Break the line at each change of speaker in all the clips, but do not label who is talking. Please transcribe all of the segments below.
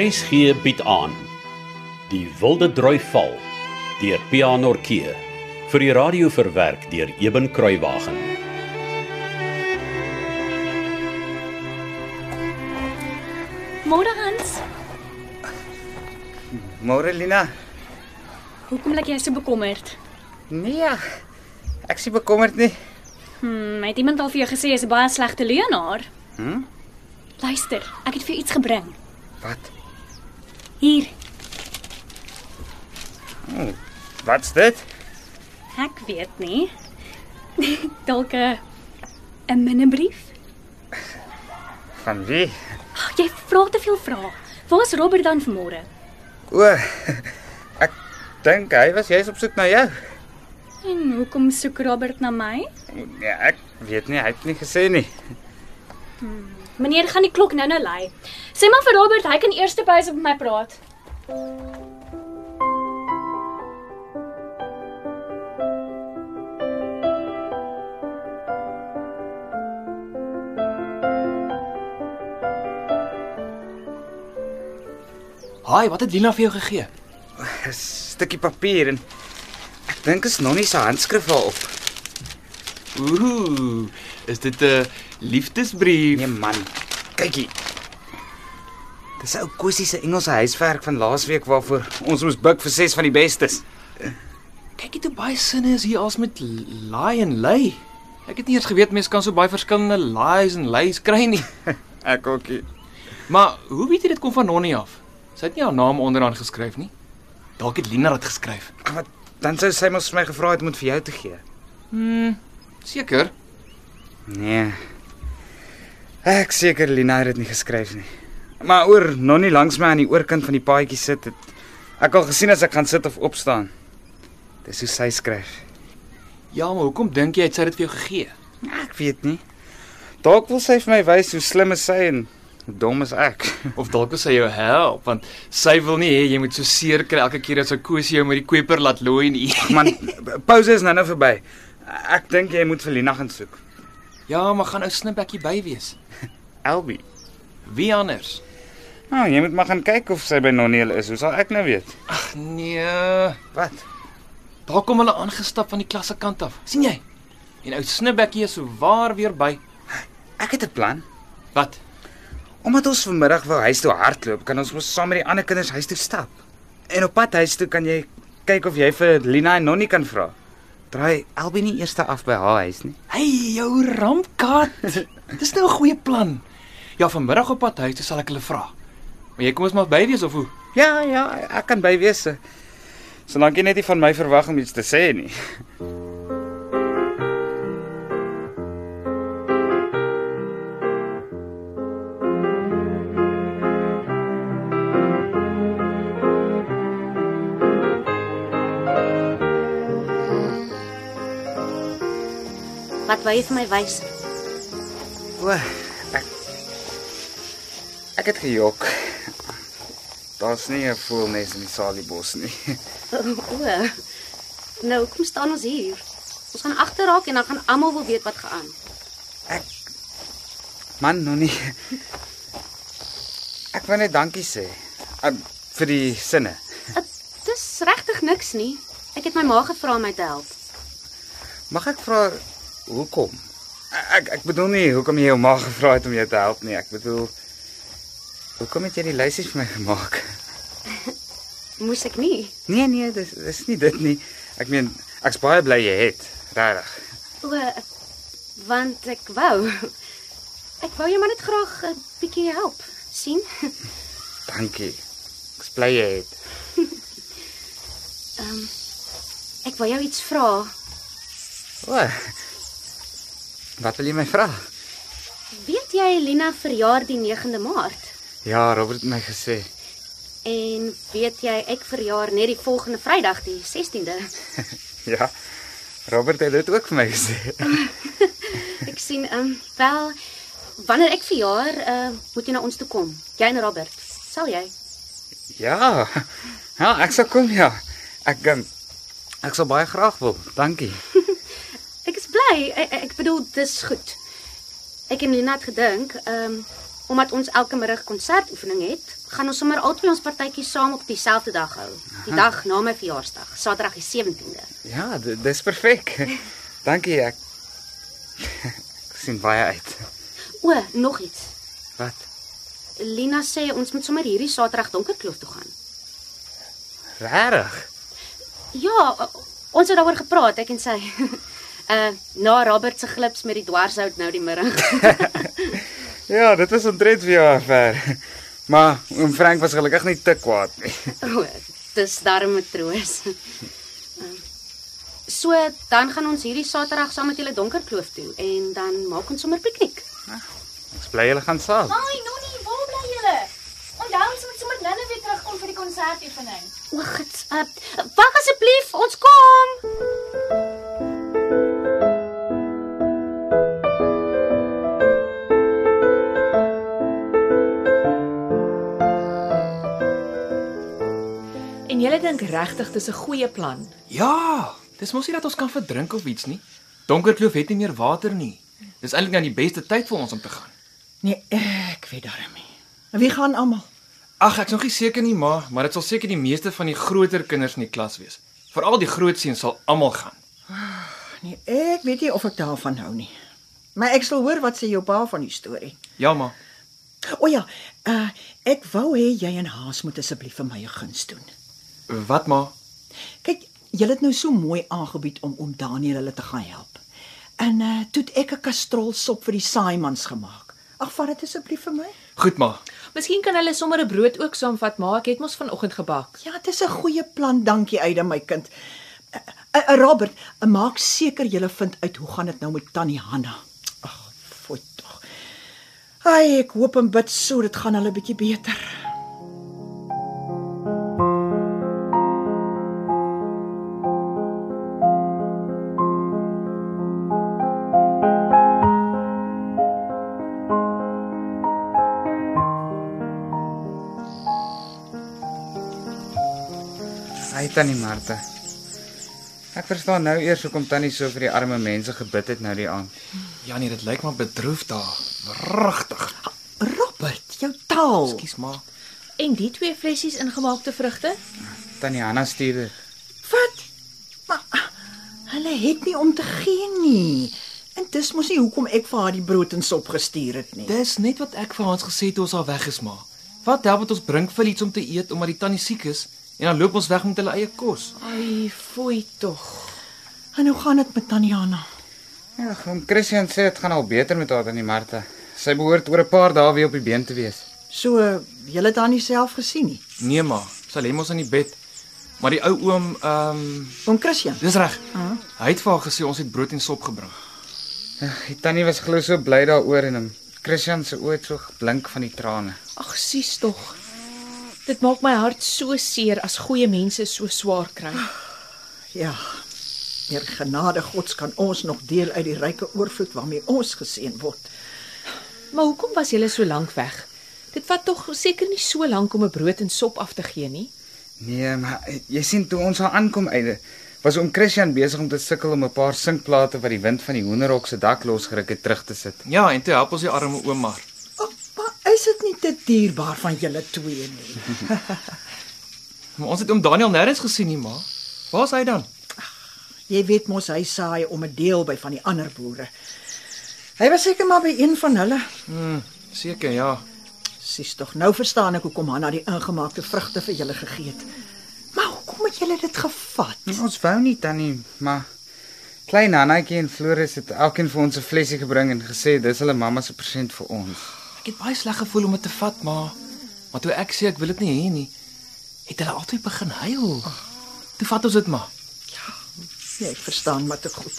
RSG bied aan Die Wilde Droi Val deur Pianorkee vir die radio verwerk deur Eben Kruiwagen.
Môre Hans,
Môre Lina.
hoekom lyk jy so bekommerd?
Nee, ag, ek is nie bekommerd nie.
Hm, het iemand al vir jou gesê jy's 'n baie slegte leienaar?
Hm?
Luister, ek het vir jou iets gebring.
Wat?
Hier,
Wat's dit?
ek weet nie. Dalk 'n 'n minnebrief?
Van wie?
Ag, jy vra te veel vrae. Waar's Robert dan vanmôre?
O, ek dink hy was jy's op soek na jou.
En hoekom soek Robert na my?
Nee, ek weet nie, hy het nie gesê nie.
Meneer gaan die klok nou-nou lui. Sê maar vir Robert, hy kan eers by sy met my praat.
Haai, wat het Lina vir jou gegee?
Dis 'n stukkie papier en ek dink is Nonnie se handskrif daarop.
Ooh, is dit 'n liefdesbrief?
Nee man, kyk hier. Dis 'n ou Kossie se Engelse huiswerk van laasweek waarvoor ons moes buig vir 6 van die bestes.
Kyk net hoe baie sinne is hier als met lie en lay. Ek het nie eers geweet mense kan so baie verskillende lies en lays kry nie.
Ek ookie.
Maar hoe weet jy dit kom van Nonnie af? Sy het nie haar naam onderaan geskryf nie. Dalk het Lina dit geskryf.
Wat dan sou sy mos vir my gevra het om dit vir jou te gee.
Hm, seker.
Nee. Ek seker Lina het dit nie geskryf nie. Maar oor Nonnie langs my aan die oorkant van die paadjie sit het ek al gesien as ek gaan sit of opstaan. Dis hoe sy skryf.
Ja, maar hoekom dink jy het sy dit vir jou gegee?
Ja, Ek weet nie. Dalk wil sy vir my wys hoe slim is sy en hoe dom is ek.
Of dalk wil sy jou help want sy wil nie hê jy moet so seer kry elke keer as sy koesie jou met die kweper laat looi nie.
Man, pouse is nou nou verby. Ek dink jy moet vir Lina gaan soek.
Ja, maar gaan ou snippekkie by wees.
Elbie.
Wie anders?
Nou, jy moet maar gaan kyk of sy by Nonnie hulle is. Hoe sal ek nou weet?
Ag nee.
Wat?
Daar kom hulle aangestap van die klasse kant af. sien jy? En ou Snibbekkie is so waar weer by.
Ek het 'n plan.
Wat?
Omdat ons vanmiddag wou huis toe hardloop, kan ons mos saam met die ander kinders huis toe stap. En op pad huis toe kan jy kyk of jy vir Lina en Nonnie kan vra. Draai Albie nie eers af by haar huis nie.
Hey, jou rampkaart. Dis nou 'n goeie plan. Ja, vanmiddag op pad huis toe sal ek hulle vra. Maar jy kom ons maar by wees of hoe?
Ja, ja, ek kan by wees. Solank jy net nie van my verwag om iets te sê nie.
Wat wou jy vir my wys?
O, ek ek het gejok. Daar's nie 'n voelnes in die saliebos nie.
O. Nou, kom staan ons hier. Ons gaan agterraak en dan gaan almal wil weet wat gaan.
Ek man, Nonnie. Ek wil net dankie sê um, vir die sinne.
Dis regtig niks nie. Ek het my ma gevra om my te help.
Mag ek vra hoekom? Ek ek bedoel nie hoekom jy jou ma gevra het om jou te help nie. Ek bedoel hoekom het jy die lysies vir my gemaak?
Moes ek nie.
Nee nee, dis dis nie dit nie. Ek meen, ek's baie bly jy het. Regtig.
O, want ek wou. Ek wou jou maar net graag 'n bietjie help. sien?
Dankie. Ek's bly jy het.
Ek wou jou iets vra.
O. Wat wil jy my vra?
Weet jy Lina verjaar die 9de Maart?
Ja, Robert het my gesê.
En weet jy ek verjaar net die volgende Vrydag die 16de.
Ja. Robert het dit ook vir my gesê.
Ek sien ehm um, wel wanneer ek verjaar, ehm uh, moet jy na ons toe kom. Jy en Robert. Sal jy?
Ja. Ja, ek sal kom ja. Ek kan ek sal baie graag wil. Dankie.
Ek is bly. Ek, ek bedoel dis goed. Ek en Lena het gedink, ehm um, Omdat ons elke middag konsertoefening het, gaan ons sommer albei ons partytjies saam op dieselfde dag hou. Die dag na my verjaarsdag, Saterdag die 17de.
Ja, d- dis perfek. Dankie ek. ek sien baie uit.
O, nog iets.
Wat?
Lina sê ons moet sommer hierdie Saterdag Donkerkloof toe gaan.
Regtig?
Ja, o- ons het daaroor gepraat, ek en sy. Uh na Robert se glips met die dwarshout nou die middag.
Ja, dit was omtrent vir jou affair. Maar oom Frank was gelukkig nie te kwaad nie.
O, dis darm met troos. Ehm, So dan gaan ons hierdie Saterdag saam met julle Donkerkloof toe en dan maak ons sommer piknik.
Ek is bly julle gaan saam.
Ai, Nonnie, waar bly julle? Onthou ons moet sommer nou-nou weer terugkom vir die konsertoefening.
O, gits. Uh, wag asseblief, ons kom.
En julle dink regtig dis 'n goeie plan.
Ja, dis mos nie dat ons kan verdrink of iets nie. Donkerkloof het nie meer water nie. Dis eintlik nou die beste tyd vir ons om te gaan.
Nee, ek weet darm nie. Wie gaan almal?
Ag, ek's nog nie seker nie, maar maar dit sal seker die meeste van die groter kinders in die klas wees. Veral die groot seuns sal almal gaan.
Nee, ek weet nie of ek daarvan hou nie. Maar ek sal hoor wat sê jou pa van die storie.
Ja, ma.
O ja, uh, ek wou hê jy en Haas moet asseblief vir my 'n guns doen.
Wat ma?
Kyk, julle het nou so mooi aangebied om om Daniel hulle te gaan help. En uh, toe het ek 'n kastrolsop vir die saaimans gemaak. Ag, vat dit asseblief vir my.
Goed, ma.
Miskien kan hulle sommer 'n brood ook saamvat, maar ek het mos vanoggend gebak.
Ja, dit is 'n goeie plan, dankie Aida my kind. Uh, uh, Robert, uh, maak seker jy vind uit hoe gaan dit nou met Tannie Hanna. Ag, fooi tog. Ai, ek hoop en bid so dit gaan hulle bietjie beter.
Hy tannie Martha. Ek verstaan nou eers hoekom tannie so vir die arme mense gebid het nou die aand.
Ja nee, dit lyk maar bedroef daar. Regtig.
Robert, jou taal.
Ekskuus, ma.
En die twee flessies ingemaakte vrugte?
Tannie Hanna stuur dit.
Wat? Maar ah, hulle het nie om te gee nie. En dis mos nie hoekom ek vir haar die brood en sop gestuur het nie.
Dis net wat ek vir Hans gesê het toe ons al weg is, ma. Wat help dit ons bring vir iets om te eet omdat die tannie siek is en dan loop ons weg met hulle eie kos?
Ai, fooi tog.
En hoe gaan dit met Tannie Hanna?
Ja, oom Christian sê dit gaan al beter met haar tannie Martha. Sy behoort oor 'n paar dae weer op die been te wees.
So, jy het haar nie self gesien nie.
Nee, ma. Sy lê mos in die bed. Maar die ou oom, ehm,
Oom Christian.
dis reg. Hy het vir haar gesê ons het brood en sop gebring.
Ag, die tannie was glo so bly daaroor en hom. Christian se oë het so geblink van die trane.
Ag, sies tog. Dit maak my hart so seer as goeie mense so swaar kry.
Ja. Deur genade Gods kan ons nog deel uit die ryke oorvloed waarmee ons geseën word.
Maar hoekom was julle so lank weg? Dit vat tog seker nie so lank om 'n brood en sop af te gee nie.
Nee, maar eh, jy sien toe ons daar aankom einde was oom Christian besig om te sukkel om 'n paar sinkplate wat die wind van die hoenderhok se dak losgeruk het terug te sit.
Ja, en toe help ons die arme oom maar.
O, maar is dit nie te dierbaar van julle twee nie?
Maar ons het oom Daniel nêrens gesien nie, ma. Waar is hy dan?
Jy weet mos hy saai om 'n deel by van die ander boere. Hy was seker maar by een van hulle.
Seker, ja.
Sis tog, nou verstaan ek hoekom Hanna die ingemaakte vrugte vir julle gegee het. Maar hoekom het julle dit gevat?
Ons wou nie tannie, maar klein Hannetjie en Floris het elkeen vir ons 'n flesie gebring en gesê dis hulle mamma se persent vir ons.
Ek het baie sleg gevoel om dit te vat, ma. Maar toe ek sê ek wil dit nie hê nie, het hulle altyd begin huil. Toe vat ons dit maar.
Nee, ek verstaan maar te goed.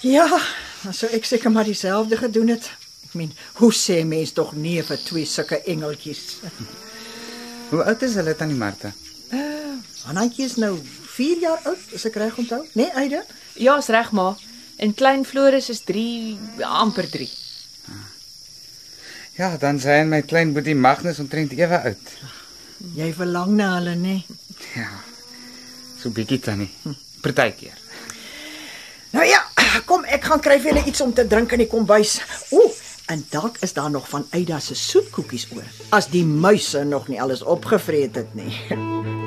Ja, dan sou ek seker maar dieselfde gedoen het. Ek meen, hoe sê mens tog nee vir twee sulke engeltjies?
Hoe oud is hulle tannie Martha?
Hannatjie is nou 4 jaar oud, as ek reg onthou. Nee, Aida?
Ja, is reg, ma. En klein Floris is 3 amper 3.
Ja, dan sy en my klein boetie Magnus omtrent ewe oud.
Jy verlang na hulle, nê? Nee.
Ja. So bietjie tannie. Partykeer.
Nou ja, kom ek gaan kry vir julle iets om te drink in die kombuis. Ooh, En dalk is daar nog van Eida se soetkoekies oor. As die muise nog nie alles opgevreet het nie.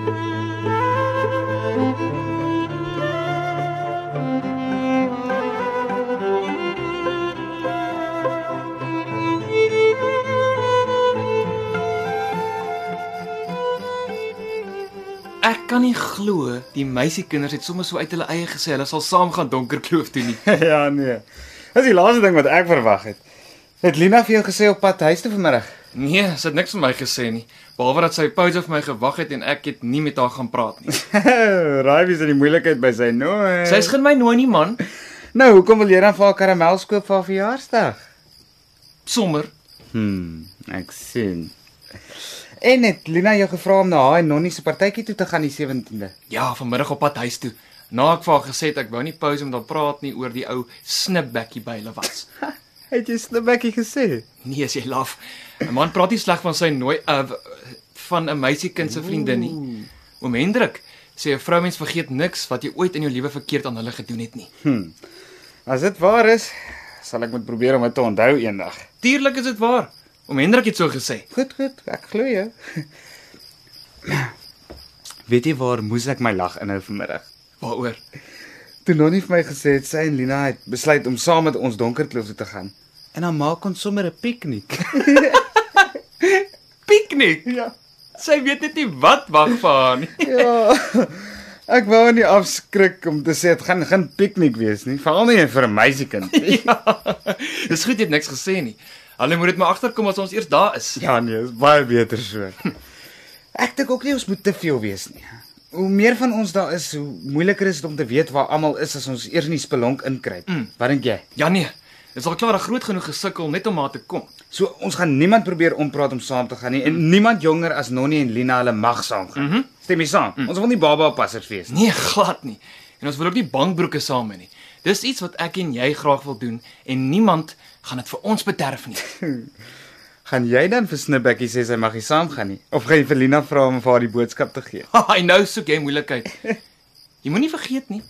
Ek kan nie glo die meisiekinders het sommer so uit hulle eie gesê hulle sal saam gaan donkerkloof toe nie.
ja nee. Dis die laaste ding wat ek verwag het. Het Lina vir jou gesê op pad huis toe vanmiddag?
Nee, sy het niks vir my gesê nie, behalwe dat sy Pouso vir my gewag het en ek het nie met haar gaan praat nie.
Raai wie is in die moeilikheid by sy nooi.
Sy skyn my nooi nie man,
Nou, hoekom wil jy dan vir haar karamels koop vir haar verjaarsdag?
sommer.
Hm, ek sien. En het Lina jou gevra om na haar en Nonnie se partytjie toe te gaan die 17de?
Ja, vanmiddag op pad huis toe. Na ek vir haar gesê het ek wou nie Pouso met haar praat nie oor die ou snipbekkie by hulle was.
Het jy Slimbekkie gesê?
Nee, as jy laf. 'n Man praat nie sleg van sy nooi uh, van 'n meisiekind se vriendin nie. Oom Hendrik sê 'n vroumens vergeet niks wat jy ooit in jou lewe verkeerd aan hulle gedoen het nie.
As dit waar is, sal ek moet probeer om dit te onthou eendag.
Tuurlik is dit waar. Oom Hendrik het so gesê.
Goed, goed, ek glo jou. Weet jy waar moes ek my lag inhou vanmiddag?
Waaroor?
Toe Nonnie vir my gesê het sy en Lina het besluit om saam met ons donkerkloof toe te gaan. En dan maak ons sommer 'n piknik.
Piknik.
Ja.
Sy weet net nie wat wag vir haar nie.
ja. Ek wou haar nie afskrik om te sê dit gaan geen piknik wees nie, veral nie vir 'n meisiekind.
Ja. Dis goed jy het niks gesê nie. Hulle moet dit maar agterkom as ons eers daar is.
ja nee, is baie beter so. Ek dink ook nie ons moet te veel wees nie. Hoe meer van ons daar is, hoe moeiliker is dit om te weet waar almal is as ons eers in die spelonk inkruip. Mm. Wat dink jy?
Ja nee. Dit is al klaar 'n groot genoeg gesukkel net om haar te kom.
So ons gaan niemand probeer ompraat om saam te gaan nie en niemand jonger as Nonnie en Lina hulle mag saam gaan. Mm -hmm. Stem jy saam? Mm. Ons wil nie baba oppassers wees nie.
Nee, glad nie. En ons wil ook nie bangbroeke saam hê nie. Dis iets wat ek en jy graag wil doen en niemand gaan dit vir ons bederf nie.
Gaan jy dan vir Snibbekkie sê sy mag nie saamgaan nie of gaan jy vir Lina vra om vir haar die boodskap te gee?
Haai, nou soek jy moeilikheid. Jy moenie vergeet nie.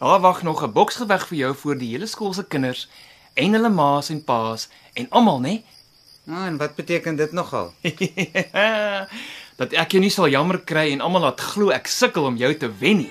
Daar wag nog 'n boks geweg vir jou voor die hele skool se kinders en hulle ma's en pa's en almal, né?
Ah, en wat beteken dit nogal?
dat ek jou nie sal jammer kry en almal laat glo ek sukkel om jou te wen nie.